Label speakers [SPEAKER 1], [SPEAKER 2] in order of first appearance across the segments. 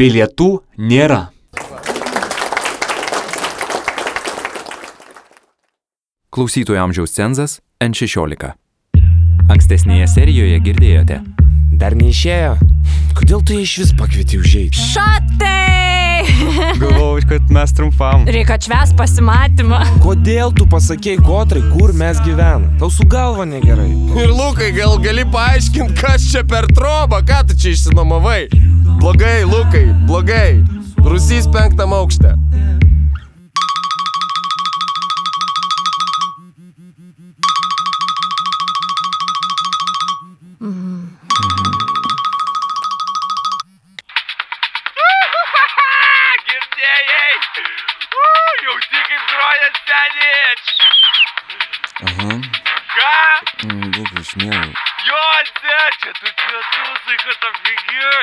[SPEAKER 1] Bilietų nėra.
[SPEAKER 2] Klausytojų amžiaus cenzas N16. Ankstesnėje serijoje girdėjote.
[SPEAKER 3] Dar neišėjo. Kodėl tu ją iš vis pakvieti užėjti?
[SPEAKER 4] Šatai!
[SPEAKER 5] Galvojau, kad mes trumpam.
[SPEAKER 4] Reikia atšves pasimatymą.
[SPEAKER 3] Kodėl tu pasakėjai Kotrai, kur mes gyvenam? Tau su galva negerai.
[SPEAKER 6] Ir Lukai, gal gali paaiškinti, kas čia per trobą, ką tu čia išsinomavai? Blogai, Lukai, blogai. Rusys penktam aukšte.
[SPEAKER 7] Girdėjai? U, Jauti kaip groja seniai.
[SPEAKER 5] Aha,
[SPEAKER 7] Ką?
[SPEAKER 5] būk išmėgau.
[SPEAKER 7] Juose, čia tu pietusai, kad tam figir.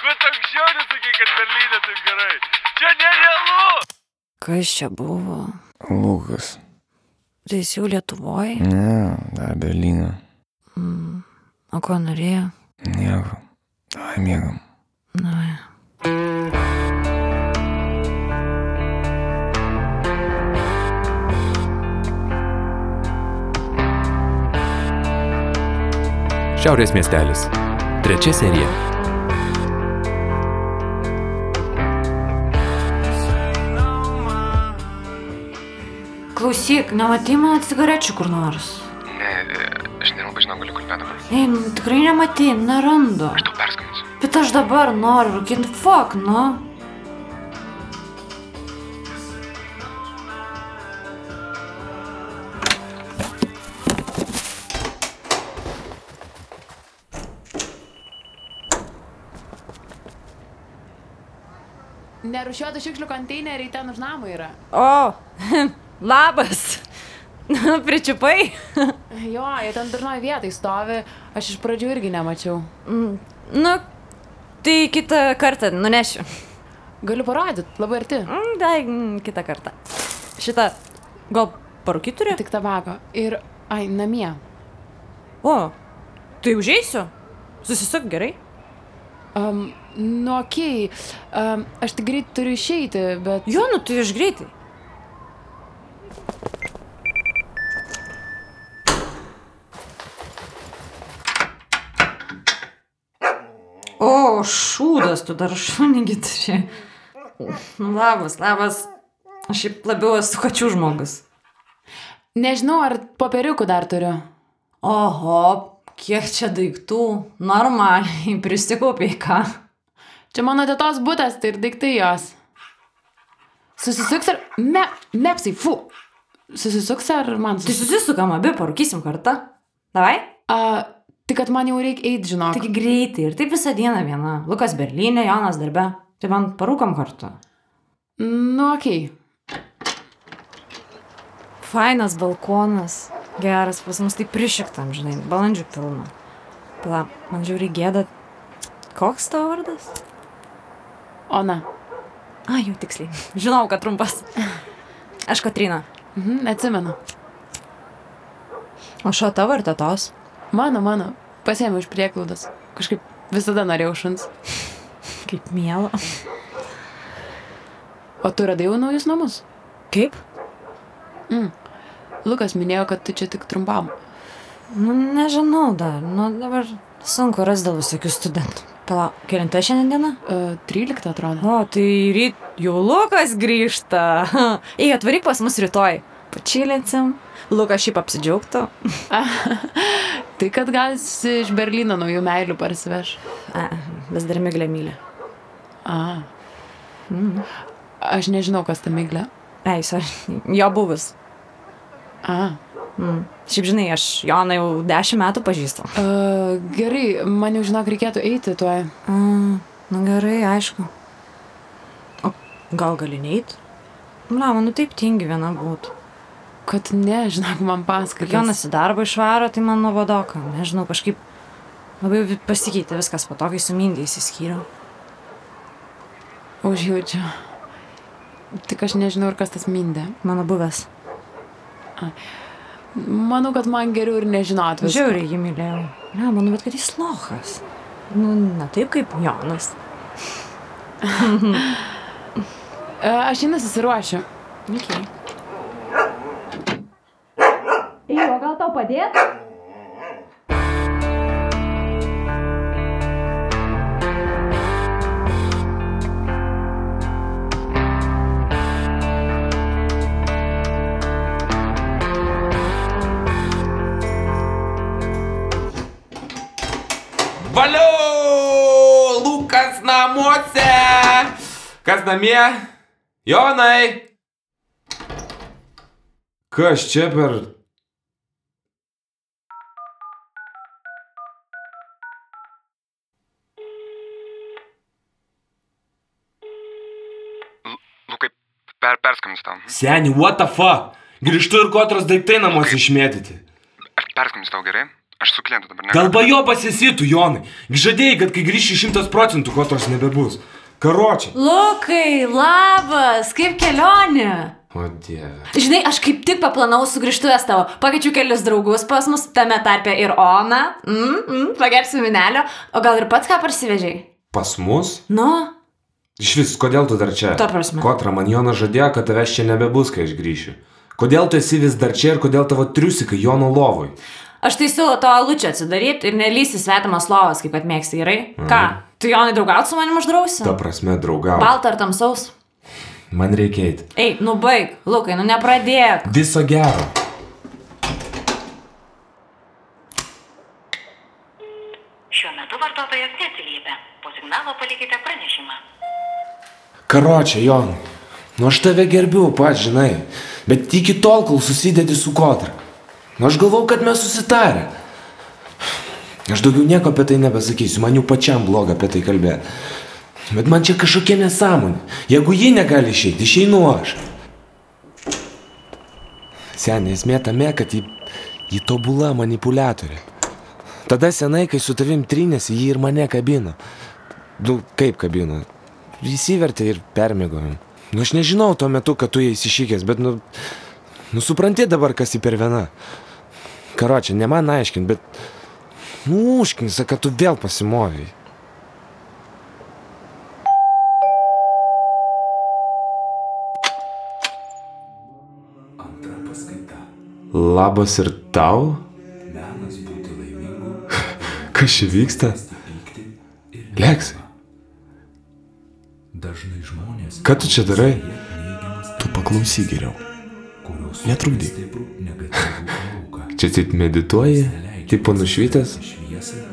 [SPEAKER 7] Bet anksčiau nesakai, kad Berlyne taip gerai. Čia nerealu.
[SPEAKER 4] Kas čia buvo?
[SPEAKER 5] Lukas. Mm.
[SPEAKER 4] Tai jis jau Lietuvoje?
[SPEAKER 5] Ne, dar Berlyną.
[SPEAKER 4] O ko norėjo?
[SPEAKER 5] Nieko. Ai, mėgam.
[SPEAKER 4] Na,
[SPEAKER 2] Šiaurės miestelis. Trečia serija.
[SPEAKER 4] klausyk, nematai mano cigarečių kur nors.
[SPEAKER 8] Ne,
[SPEAKER 7] e,
[SPEAKER 8] aš nelabai žinau, galiu kalbėti dabar.
[SPEAKER 4] Ei, nu, tikrai nematai, nerandu.
[SPEAKER 8] Tu perskambinsi.
[SPEAKER 4] Bet aš dabar noriu rūkinti fok, nu.
[SPEAKER 9] Nerušiuotų šiukšlių konteineriai ten už namų yra.
[SPEAKER 4] O, labas. Nu, Pričiupai?
[SPEAKER 9] Jo, jie ten durnoj vietai stovi, aš iš pradžių irgi nemačiau.
[SPEAKER 4] Nu, tai kitą kartą nunešiu.
[SPEAKER 9] Galiu parodyti, labai arti.
[SPEAKER 4] Mm, Dai, mm, kitą kartą. Šitą, gal parūkį turi?
[SPEAKER 9] Tik tabako. Ir, ai, namie.
[SPEAKER 4] O, tai užėsiu. Susisuk gerai.
[SPEAKER 9] Um, nu, okei, okay. um, aš tik greit turiu išeiti, bet...
[SPEAKER 4] Jo, nu tai aš greitai. O, šūdas, tu dar šunigit čia. Nu, labas, labas. Aš šiaip labiau esu kačių žmogus.
[SPEAKER 9] Nežinau, ar popieriukų dar turiu.
[SPEAKER 4] Oho, kiek čia daiktų. Normaliai, prisikaupiai ką.
[SPEAKER 9] Čia mano tėtos būtas, tai ir daiktai jos. Susisuks ar... Me, mepsai, fu. Susisuks ar man
[SPEAKER 4] Tai
[SPEAKER 9] susisuks?
[SPEAKER 4] susisukam abi, parūkysim kartą. Davai?
[SPEAKER 9] Uh, tik, kad man jau reikia eiti, žinok.
[SPEAKER 4] Taigi greitai ir taip visą dieną viena. Lukas Berlyne, Jonas darbe. Tai man parūkam kartu.
[SPEAKER 9] Nu, okei. Okay.
[SPEAKER 4] Fainas balkonas. Geras, pas mus tai prišiktam, žinai, balandžių pilna. Pala, man žiauri gėda. Koks tavo vardas?
[SPEAKER 9] Ona.
[SPEAKER 4] A, jau tiksliai. Žinau, kad trumpas. Aš Katrina.
[SPEAKER 9] Mhm, atsimenu.
[SPEAKER 4] O šio tavo ir tėtos?
[SPEAKER 9] Mano, mano. Pasėmiau iš prieklaudos. Kažkaip visada norėjau šuns.
[SPEAKER 4] Kaip miela.
[SPEAKER 9] O tu radai jau naujus namus?
[SPEAKER 4] Kaip?
[SPEAKER 9] Lukas minėjo, kad tu čia tik trumpam.
[SPEAKER 4] Nu, nežinau dar. Nu, dabar sunku rasti dėl visokių studentų. Pala, kelinta šiandien diena?
[SPEAKER 9] Uh, 13 atrodo.
[SPEAKER 4] O, tai ryt jau Lukas grįžta. Ei, atvaryk pas mus rytoj. Pačilinsim. Lukas šiaip apsidžiaugtų.
[SPEAKER 9] Tai kad gal jis iš Berlyno naujų meilių parsiveš.
[SPEAKER 4] A, E, vis dar myglė myli. Mm.
[SPEAKER 9] A. Aš nežinau, kas ta myglė.
[SPEAKER 4] Ei, sorry, jo buvus.
[SPEAKER 9] A.
[SPEAKER 4] Mm. Šiaip žinai, aš Joną jau dešimt metų pažįstu.
[SPEAKER 9] Uh, gerai, man jau žinok reikėtų eiti tuoj.
[SPEAKER 4] Mm, nu gerai, aišku. O gal gali neit? Na, man nu taip tingi viena būtų.
[SPEAKER 9] Kad ne, žinok, man pasakai.
[SPEAKER 4] Kai Jonas į darbą išvaro, tai man nuobodoka. Nežinau, kažkaip labai vi- pasikeitė viskas po to, kai su Mindė įsiskyriau.
[SPEAKER 9] Užjaučiu. Tik aš nežinau, ir kas tas mindė.
[SPEAKER 4] Mano buvęs.
[SPEAKER 9] Manau, kad man geriau ir nežinot visų.
[SPEAKER 4] Žiauriai jį mylėjau. Ne, manau, bet kad jis lohas. Nu, ne taip kaip Jonas.
[SPEAKER 9] E, Aš jį nesusiruošiu.
[SPEAKER 4] Okay.
[SPEAKER 10] Jo, gal tau padėt?
[SPEAKER 11] Valio! Lukas namuose! Kas namie? Jonai! Kas čia per...
[SPEAKER 7] Lukai, Nu, per, perskambinsiu tau.
[SPEAKER 11] Seni, what the fuck? Grįžtu ir kotras daiktai namuose išmėtyti.
[SPEAKER 7] Aš perskambinsiu tau gerai? Aš su klientu dabar ne.
[SPEAKER 11] Gal bajo pasisitų, Jonai. Žadėjai, kad kai grįši šimtas procentų kotras nebebus. Karočią.
[SPEAKER 4] Lukai, labas, kaip kelionė?
[SPEAKER 11] O dieve.
[SPEAKER 4] Žinai, aš kaip tik paplanavau sugrįžtuves tavo. Pakeičiu kelius draugus pas mus, tame tarpe ir Ona. Mm, mm, Pagersiu minelio. O gal ir pats ką parsivežiai?
[SPEAKER 11] Pas mus?
[SPEAKER 4] Nu,
[SPEAKER 11] Iš vis, kodėl tu dar čia?
[SPEAKER 4] Ta prasme.
[SPEAKER 11] Kotra, man Jonas žadėjo, kad tavęs čia nebebus, kai aš grįšiu. Kodėl tu esi vis dar čia ir kodėl tavo triusikai Jono lovui?
[SPEAKER 4] aš tai siūlau to alučią atsidaryti ir nelysi svetimas lovas, kaip atmėgsti, gerai? Ką? Tu Jonai draugauti su manim uždrausi?
[SPEAKER 11] Ta prasme, draugau.
[SPEAKER 4] Balta ar tamsaus?
[SPEAKER 11] Man reikia eiti.
[SPEAKER 4] Ei, nu baig, Lukai, nu nepradėk.
[SPEAKER 11] Viso gero.
[SPEAKER 12] Šiuo metu vartotojas neatsiliepia. Po signalo palikite pranešimą.
[SPEAKER 11] Karočią, Jonai. Nu aš tave gerbiu, pats žinai. Bet iki tol, kol susidedi su Kotra. Nu aš galvau, kad mes susitarę. Aš daugiau nieko apie tai nebesakysiu, man jau pačiam bloga apie tai kalbėti. Bet man čia kažkokia nesąmonė. Jeigu ji negali išeiti, išeinu aš. Seniai esmė tame, kad ji, ji tobula manipuliatorė. Tada senai, kai su tavim trynėsi, ji ir mane kabino. Nu, kaip kabino? Įsivertė ir permėgojom. Nu, aš nežinau tuo metu, kad tu jai įsišykęs, bet, nu, nu, supranti dabar, kas į per viena. Karočią, ne man aiškint, bet, nu, užkinsa, kad tu vėl pasimovėjai. Labas ir tau? Kas čia vyksta? Leksai. Ką tu čia darai?
[SPEAKER 2] Tu paklausy geriau. Netrukdyk.
[SPEAKER 11] Čia taip medituoji, taip nušvitęs?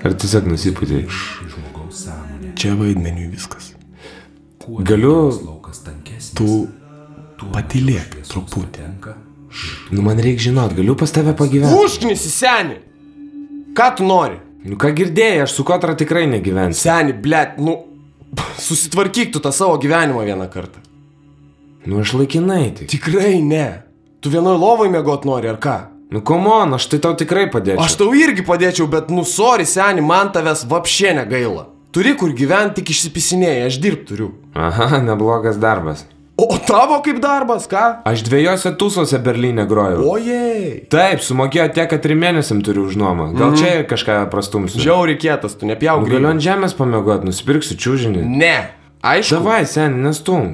[SPEAKER 11] Ar tiesiog nusipūtė?
[SPEAKER 2] Čia vaidmeniui viskas.
[SPEAKER 11] Galiu,
[SPEAKER 2] Tu patylėk truputį.
[SPEAKER 11] nu man reikia žinot, galiu pas tave pagyventi.
[SPEAKER 6] Užknisi, seni! Ką tu nori?
[SPEAKER 11] Nu ką girdėjai, aš su kotra tikrai negyvensiu.
[SPEAKER 6] Seni, blėt, nu... Susitvarkyk tu tą savo gyvenimą vieną kartą.
[SPEAKER 11] Nu aš laikinai tik.
[SPEAKER 6] Tikrai ne. Tu vienoj lovai mėgot nori, ar ką?
[SPEAKER 11] Nu komon, aš tai tau tikrai padėsiu.
[SPEAKER 6] Aš tau irgi padėčiau, bet nu sorry, seni, man tavęs vapšė negaila. Turi kur gyventi, tik išsipisinėjai, aš dirb turiu.
[SPEAKER 11] Aha, neblogas darbas.
[SPEAKER 6] O tavo kaip darbas, ką?
[SPEAKER 11] Aš dviejose tūsose Berlyne grojau.
[SPEAKER 6] Ojei.
[SPEAKER 11] Taip, sumokėjo tiek, kad trim mėnesiam turiu už nuomą. Gal čia kažką prastumsiu?
[SPEAKER 6] Žiauri kietas, tu nepjauk
[SPEAKER 11] Nu, Galiu ant žemės pamėgot, nusipirksiu čiūžinį.
[SPEAKER 6] Ne. Aišku.
[SPEAKER 11] Davai, seniai, nestum.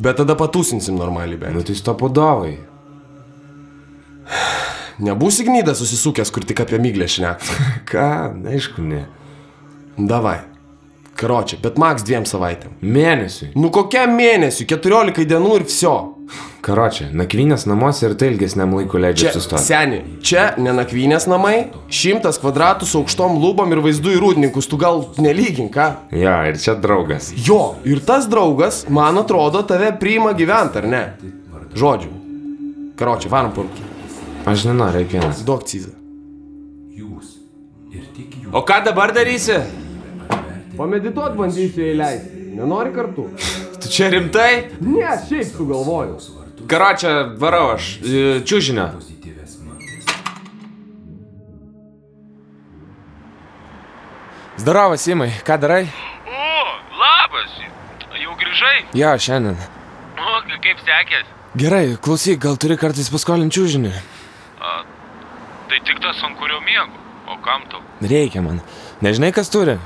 [SPEAKER 6] Bet tada patusinsim normaliai,
[SPEAKER 11] Nu
[SPEAKER 6] bet.
[SPEAKER 11] tai stopodovai.
[SPEAKER 6] Nebūsi gnydas susisukęs, kur tik apie myglę šnek.
[SPEAKER 11] Ką, aišku, ne.
[SPEAKER 6] Davai. Karočią, bet maks dviem savaitėm.
[SPEAKER 11] Mėnesiui.
[SPEAKER 6] Nu kokiam mėnesiui, 14 dienų ir viso.
[SPEAKER 11] Karočią, nakvynės namuose ir tai ilgesniam laiku leidžia
[SPEAKER 6] Čia,
[SPEAKER 11] apsistoti.
[SPEAKER 6] seni, čia nenakvynės namai, šimtas kvadratų su aukštom lubom ir vaizdu į rūdininkus, tu gal nelygink, ką?
[SPEAKER 11] Jo, ir čia draugas.
[SPEAKER 6] Jo, ir tas draugas, man atrodo, tave priima gyventi, ar ne? Žodžiu. Karočią, varom pulkį.
[SPEAKER 11] Aš nenoriu, reikia vienas.
[SPEAKER 6] Duok cizą.
[SPEAKER 11] O ką dabar darysi?
[SPEAKER 6] Pamedituot bandysiu įleisti. Nenori kartu?
[SPEAKER 11] Tu čia rimtai?
[SPEAKER 6] Ne, šiaip sugalvojau.
[SPEAKER 11] Karočią, varau aš.
[SPEAKER 3] e,
[SPEAKER 11] Čiūžinio. Zdarovas, Simai, ką darai?
[SPEAKER 13] O, labas! Jau grįžai?
[SPEAKER 11] Jo, šiandien.
[SPEAKER 13] O,
[SPEAKER 7] Nu,
[SPEAKER 13] kaip sekės?
[SPEAKER 11] Gerai, klausyk, gal turi kartais paskolinti čiūžinį?
[SPEAKER 13] Tai tik tas, ant kurio miegu. O kam tau?
[SPEAKER 11] Reikia man. Nežinai, kas turi?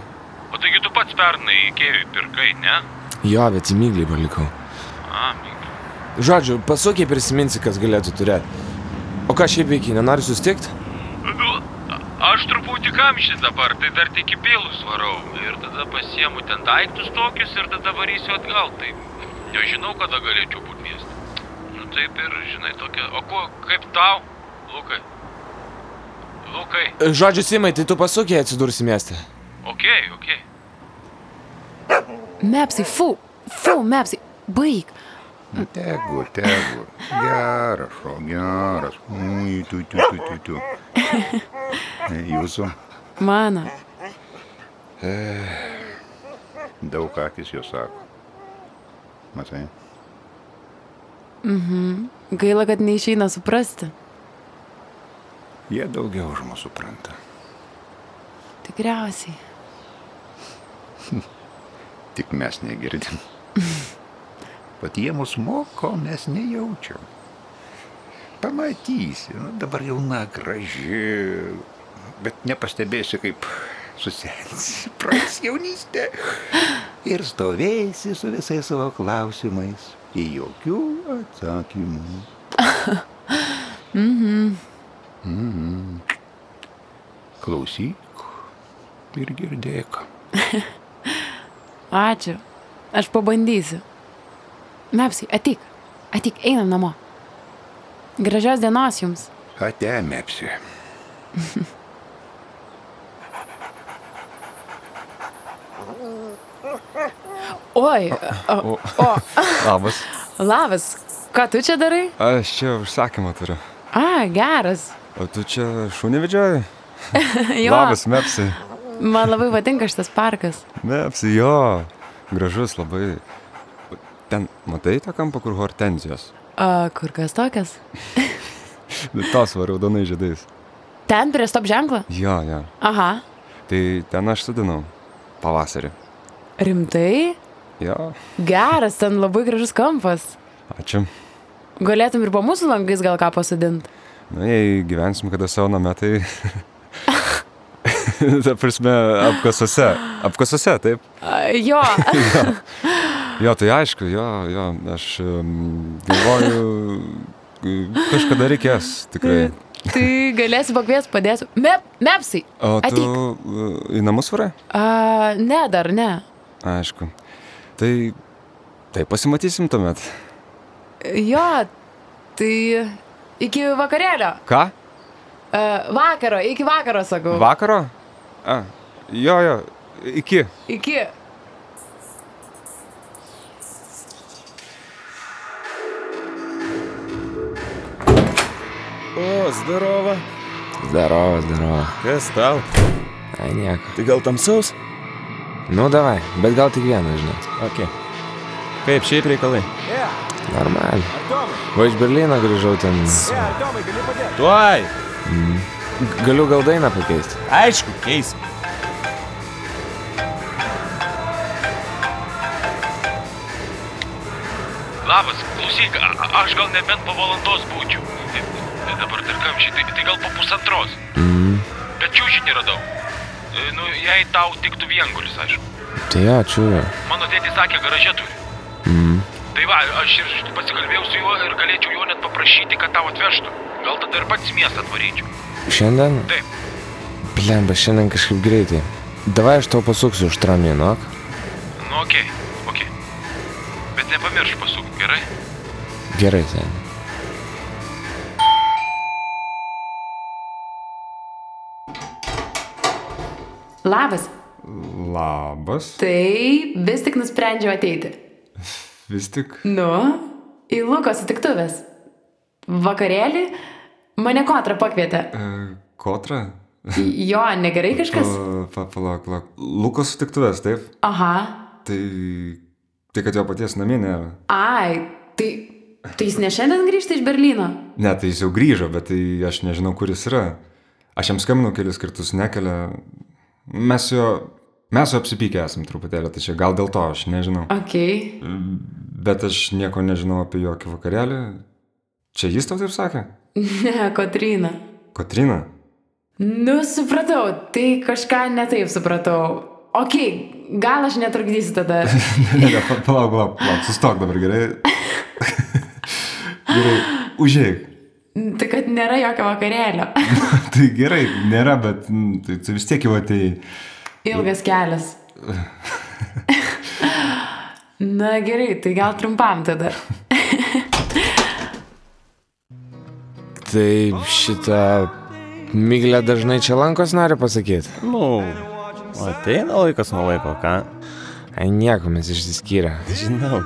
[SPEAKER 7] O taigi tu pats pernai įkėjui pirkai, ne?
[SPEAKER 3] Jo, bet įmygliai palikau.
[SPEAKER 7] A, myk.
[SPEAKER 3] Žodžiu, pasukiai prisiminsi, kas galėtų turėti. O ką šiaip veikiai, nenori susitikti?
[SPEAKER 7] Nu, a- aš truputį kamštis dabar, tai dar tik į pilus varau. Ir tada pasiemu ten daiktus tokius ir tada varysiu atgal. Tai nežinau, kada galėčiau būti mieste. Nu taip ir, žinai, tokia. O ko, kaip tau, Lukai? Lukai,
[SPEAKER 3] Žodžiu, Simai, tai tu pasukiai atsidursi mieste.
[SPEAKER 7] okei, okay, okei. Okay.
[SPEAKER 9] Mepsai, fu, fu, mepsai, baig.
[SPEAKER 13] Tegu, tegu. Geras, šau, geras. Ui, tu, tu, tu, tu, tu. E, Jūsų
[SPEAKER 9] Mano.
[SPEAKER 13] e, daug akis jos sako. Matai?
[SPEAKER 9] Mhm. Gaila, kad neišeina suprasti.
[SPEAKER 13] Jie daugiau už mus supranta.
[SPEAKER 9] Tikriausiai.
[SPEAKER 13] Tik mes negirdim. Pat jie mus moko, mes nejaučiam. Pamatysi, nu, dabar jauna graži, bet nepastebėsi, kaip susensi, praeis jaunystė. Ir stovėsi su visais savo klausimais. Į jokių atsakymų.
[SPEAKER 9] Mhm.
[SPEAKER 13] Mhm. Klausyk ir girdėk.
[SPEAKER 9] Ačiū. Aš pabandysiu. Mepsai, ateik. Ateik, einam namo. Gražios dienos jums.
[SPEAKER 13] Ate, mepsi.
[SPEAKER 9] Oi. O. o.
[SPEAKER 11] Labas.
[SPEAKER 9] Labas. Ką tu čia darai?
[SPEAKER 11] Aš čia užsakymą turiu.
[SPEAKER 9] A, geras.
[SPEAKER 11] O tu čia šunį vedžioji?
[SPEAKER 9] jo.
[SPEAKER 11] Labas, mepsi.
[SPEAKER 9] Man labai patinka šitas parkas.
[SPEAKER 11] Mepsi, jo. Gražus labai. Ten, matai tą kampą, kur hortenzijos?
[SPEAKER 9] A, kur kas tokias?
[SPEAKER 11] Nu, Tos va, raudonai žiedais.
[SPEAKER 9] Ten prie stop ženklo?
[SPEAKER 11] Jo, jo.
[SPEAKER 9] Aha.
[SPEAKER 11] Tai ten aš sudinau. Pavasarį.
[SPEAKER 9] Rimtai?
[SPEAKER 11] Jo.
[SPEAKER 9] Geras, ten labai gražus kampas.
[SPEAKER 11] Ačiū.
[SPEAKER 9] Galėtum ir po mūsų langais gal ką pasidinti.
[SPEAKER 11] Na, Nu, jei gyvensim kada savo name, tai... Ta prasme, apkasuose. Apkasuose, taip.
[SPEAKER 9] Jo.
[SPEAKER 11] Jo, tai aišku, jo, jo, aš em, galvoju, kažkada reikės, tikrai.
[SPEAKER 9] tai galėsi pakvies, padėsiu. Mep, mepsai.
[SPEAKER 11] O tu
[SPEAKER 9] Ateik.
[SPEAKER 11] e, į namus varai?
[SPEAKER 9] A, ne, dar ne.
[SPEAKER 11] Aišku. Tai, tai pasimatysim tuomet.
[SPEAKER 9] Jo, tai iki vakarėlio.
[SPEAKER 11] Ką?
[SPEAKER 9] A, vakaro, iki vakaro sakau.
[SPEAKER 11] Vakaro? A, jo, jo, iki.
[SPEAKER 9] Iki.
[SPEAKER 14] O, zdarova.
[SPEAKER 3] Zdarova, zdarova.
[SPEAKER 14] Kas tau?
[SPEAKER 3] Ai, nieko.
[SPEAKER 14] Tai gal tamsaus?
[SPEAKER 3] Nu, davai, bet gal tik vieną, žinai.
[SPEAKER 14] Ok. Kaip šiaip reikalai?
[SPEAKER 3] Normaliai. Va iš Berlyno grįžau ten.
[SPEAKER 14] Tuoj.
[SPEAKER 3] Mm. Galiu gal dainą pakeisti.
[SPEAKER 14] Aišku, keis.
[SPEAKER 7] Labas, klausyk, a- a- aš gal nebent po valandos būčiau. Tai, tai dabar dar kamščiai, tai, tai gal po pusantros.
[SPEAKER 3] Mm.
[SPEAKER 7] Bet čiūžinį radau. E, Nu, jei tau tiktų viengulis, aišku.
[SPEAKER 3] Tai jo, čiūju.
[SPEAKER 7] Mano tėtis sakė, garaže turi.
[SPEAKER 3] Mm.
[SPEAKER 7] Tai va, aš ir pasikalbėjau su juo ir galėčiau jo net paprašyti, kad tau atvežtų. Gal tada ir pats į miestą atvaryčiau.
[SPEAKER 3] Šiandien?
[SPEAKER 7] Taip.
[SPEAKER 3] Blemba, šiandien kažkaip greitai. Davai aš tau pasuksiu už tramį, nu. ok?
[SPEAKER 7] Nu, okei, okay, okei. Okay. Bet nepamiršk pasuk, gerai?
[SPEAKER 3] Gerai, ten.
[SPEAKER 9] Labas.
[SPEAKER 11] Labas.
[SPEAKER 9] Tai vis tik nusprendžiau ateiti.
[SPEAKER 11] Vis tik.
[SPEAKER 9] Nu, į Luko sutiktuvės. Vakarėlį mane kotra pakvietė.
[SPEAKER 11] E, kotra?
[SPEAKER 9] Jo, negerai kažkas?
[SPEAKER 11] Pa, palauk, palauk. Lukos sutiktuvės, taip?
[SPEAKER 9] Aha.
[SPEAKER 11] Tai... Tai kad jo paties namie nėra.
[SPEAKER 9] Ai, tai, tai jis ne šiandien grįžta iš Berlyno.
[SPEAKER 11] Ne, tai jis jau grįžo, bet tai aš nežinau, kur jis yra. Aš jam skambinau kelis kartus, nekelia. Mes jo, mes jo apsipykę esam truputėlį, tai čia gal dėl to aš nežinau.
[SPEAKER 9] Ok.
[SPEAKER 11] Bet aš nieko nežinau apie jokį vakarėlį. Čia jis tau taip sakė?
[SPEAKER 9] Ne, Kotrina.
[SPEAKER 11] Kotrina?
[SPEAKER 9] Nu, supratau, tai kažką netaip supratau. Ok, gal aš netrukdysiu tada.
[SPEAKER 11] Ne, ne, pa- palauk, palauk, palauk, sustok dabar gerai. gerai, užėjai.
[SPEAKER 9] Tai kad nėra jokio vakarėlio.
[SPEAKER 11] Tai gerai, nėra, bet mm, tai, tai vis tiek jau atėjai.
[SPEAKER 9] Ilgas kelias. Na gerai, tai gal trumpam tada.
[SPEAKER 3] Tai šitą myglę dažnai čia lankos nori pasakyti.
[SPEAKER 14] Nu, ateina laikas nuo laiko, ką?
[SPEAKER 3] Ai, nieko mes išsiskyrę.
[SPEAKER 14] Žinau.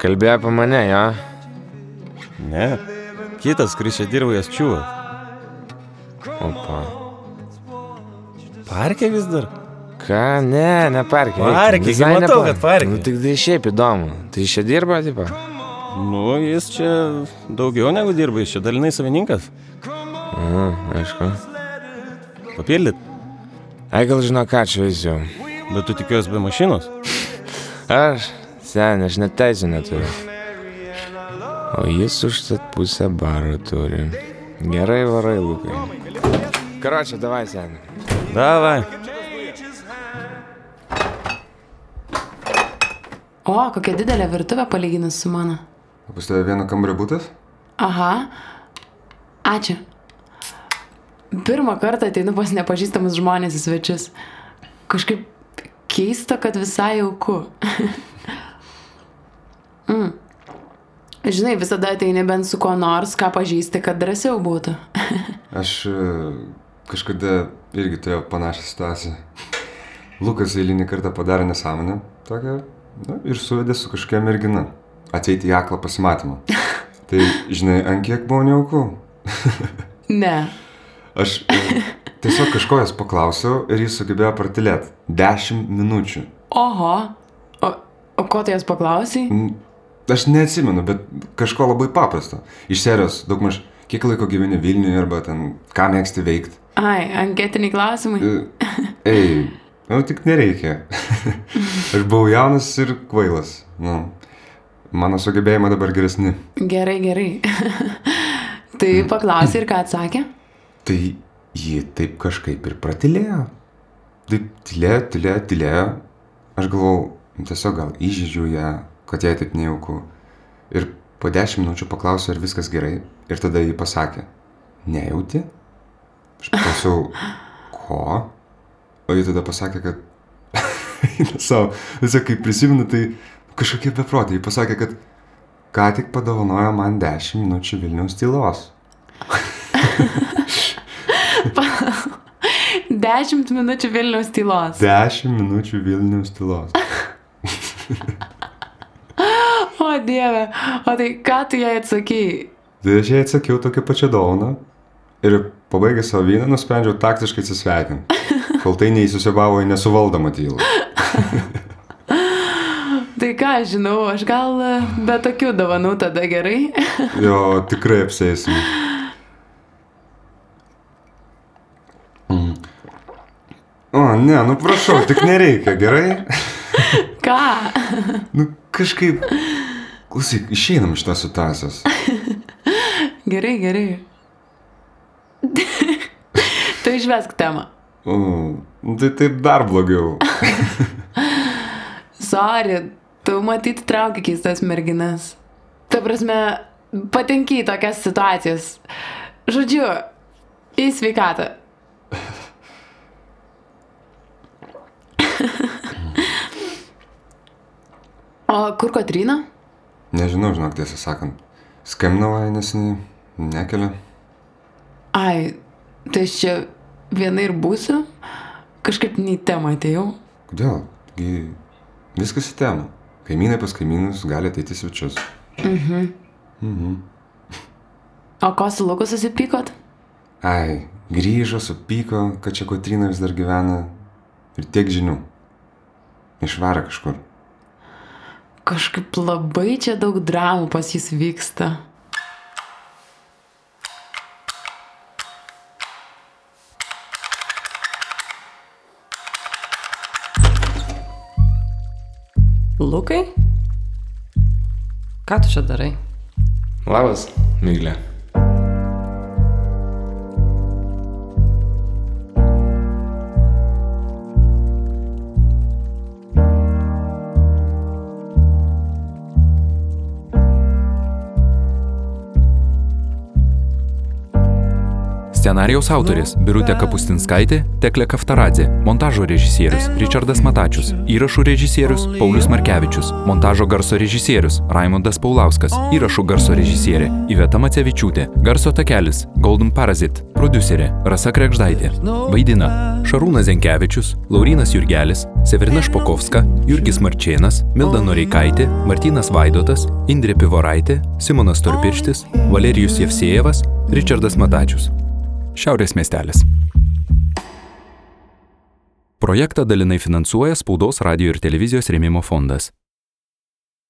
[SPEAKER 3] Kalbėjo apie mane, jo.
[SPEAKER 14] Ne. Kitas, kuris čia dirba, jas čiūva.
[SPEAKER 3] Opa.
[SPEAKER 14] Parke vis dar?
[SPEAKER 3] Ką, ne, ne parke.
[SPEAKER 14] Parke, gi matau, kad
[SPEAKER 3] parke. Nu, tik tai šiaip įdomu. Tai iš čia dirba, tipo.
[SPEAKER 14] Nu, jis čia daugiau negu dirba, jis čia dalinai savininkas.
[SPEAKER 3] Na, aišku.
[SPEAKER 14] Papildyt?
[SPEAKER 3] Ai, gal žino, ką čia vis jau.
[SPEAKER 14] Bet tu tikiuosi be mašinos?
[SPEAKER 3] Aš, sen, aš net teisų neturiu. O jis užtat pusę baro turi. Gerai varai, Lukai. Karočią, davai, sen.
[SPEAKER 14] Davai.
[SPEAKER 9] O, kokia didelė virtuvė palyginus su mano.
[SPEAKER 11] O Pas tave vieno kambario būtas?
[SPEAKER 9] Aha. Ačiū. Pirmą kartą ateinu pas nepažįstamus žmonės į svečius. Kažkaip keista, kad visai jauku. mm. Žinai, visada ateini bent su kuo nors, ką pažįsti, kad drąsiau būtų.
[SPEAKER 11] Aš e, kažkada irgi turėjau panašią situaciją. Lukas eilinį kartą padarė nesąmonę tokią nu, ir suvedė su kažkokia mergina. Ateiti į aklą pasimatymą. Tai, žinai, ant kiek buvo neaukų.
[SPEAKER 9] Ne.
[SPEAKER 11] Aš e, tiesiog kažko jos paklausiau ir jis sugebėjo pratilėti. Dešimt minučių.
[SPEAKER 9] Oho. O, o ko tu jos paklausai?
[SPEAKER 11] N- Aš neatsimenu, bet kažko labai paprasto. Iš serijos, daugmaž, kiek laiko gyveni Vilniuje arba ten, ką mėgsti veikti.
[SPEAKER 9] Ai, anketiniai klausimai.
[SPEAKER 11] Ei, nu tik nereikia. Aš buvau jaunas ir kvailas. Nu, mano sugebėjimai dabar geresni.
[SPEAKER 9] Gerai, gerai. tai paklausai ir ką atsakė?
[SPEAKER 11] Tai ji taip kažkaip ir pratilėjo. Taip tylėjo, tylėjo, tylėjo. Aš galvau, tiesiog gal įžydžiu ją, kad jai taip nejaukų. Ir po dešimt minučių paklausiau, ar viskas gerai. Ir tada ji pasakė, nejauti? Aš paklausiau, ko? O ji tada pasakė, kad... Eina Sau, visą kaip prisimenu, tai kažkokie beprotė. Ji pasakė, kad ką tik padovanojo man dešimt minučių Vilniaus tylos.
[SPEAKER 9] Dešimt minučių Vilniaus tylos.
[SPEAKER 11] Dešimt minučių Vilniaus tylos.
[SPEAKER 9] O dieve, o tai ką tu jai atsakėjai?
[SPEAKER 11] Tai aš jai atsakiau tokią pačią dovaną ir pabaigęs savo vyną nusprendžiau taktiškai atsisveikinti, kol tai neįsusibavo į nesuvaldomą tylą.
[SPEAKER 9] Tai ką, aš žinau, aš gal e, be tokių dovanų tada gerai.
[SPEAKER 11] Jo, tikrai apsėsim. Mm. O, ne, nu prašau, tik nereikia, gerai?
[SPEAKER 9] Ką?
[SPEAKER 11] Nu kažkaip... Klausyk, išeinam iš tos situacijos.
[SPEAKER 9] Gerai, gerai. tu išvesk temą.
[SPEAKER 11] O, nu tai taip dar blogiau.
[SPEAKER 9] Sorry, tu matyti traukia keistas merginas. Ta prasme, patenki į tokias situacijas. Žodžiu, į sveikatą. o kur Kotrina?
[SPEAKER 11] Nežinau, žinok, tiesą sakant. Skambinau, nes jinai nekelia.
[SPEAKER 9] Ai, tai aš čia viena ir būsiu. Kažkaip nei temą atėjau.
[SPEAKER 11] Kodėl? Gi viskas į temą. Kaimynai pas kaimynus gali ateiti į svečius.
[SPEAKER 9] Mhm.
[SPEAKER 11] Mhm.
[SPEAKER 9] O ko su Luku susipykot?
[SPEAKER 11] Ai, grįžo, supyko, kad čia Kotrina vis dar gyvena. Ir tiek žinių. Išvaro kažkur.
[SPEAKER 9] Kažkaip labai čia daug dramų pas jis vyksta.
[SPEAKER 4] Lukai? Ką tu čia darai?
[SPEAKER 3] Labas, myglė.
[SPEAKER 2] Scenarijaus autoris - Birutė Kapustinskaitė, Teklė Kaftaradė, montažo režisierius - Richardas Matačius, įrašų režisierius - Paulius Markevičius, montažo garso režisierius - Raimondas Paulauskas, įrašų garso režisierė - Iveta Macevičiūtė, garso takelis - Golden Parasit, producerė - Rasa Krekždaitė, vaidina - Šarūnas Zenkevičius, Laurinas Jurgelis, Severina Špokovska, Jurgis Marčėnas, Milda Noreikaitė, Martinas Vaidotas, Indrė Pivoraitė, Simonas Torpirštis, Valerijus Jevsejevas, Richardas Matačius. Šiaurės miestelis. Projektą dalinai finansuoja Spaudos radio ir televizijos rėmimo fondas.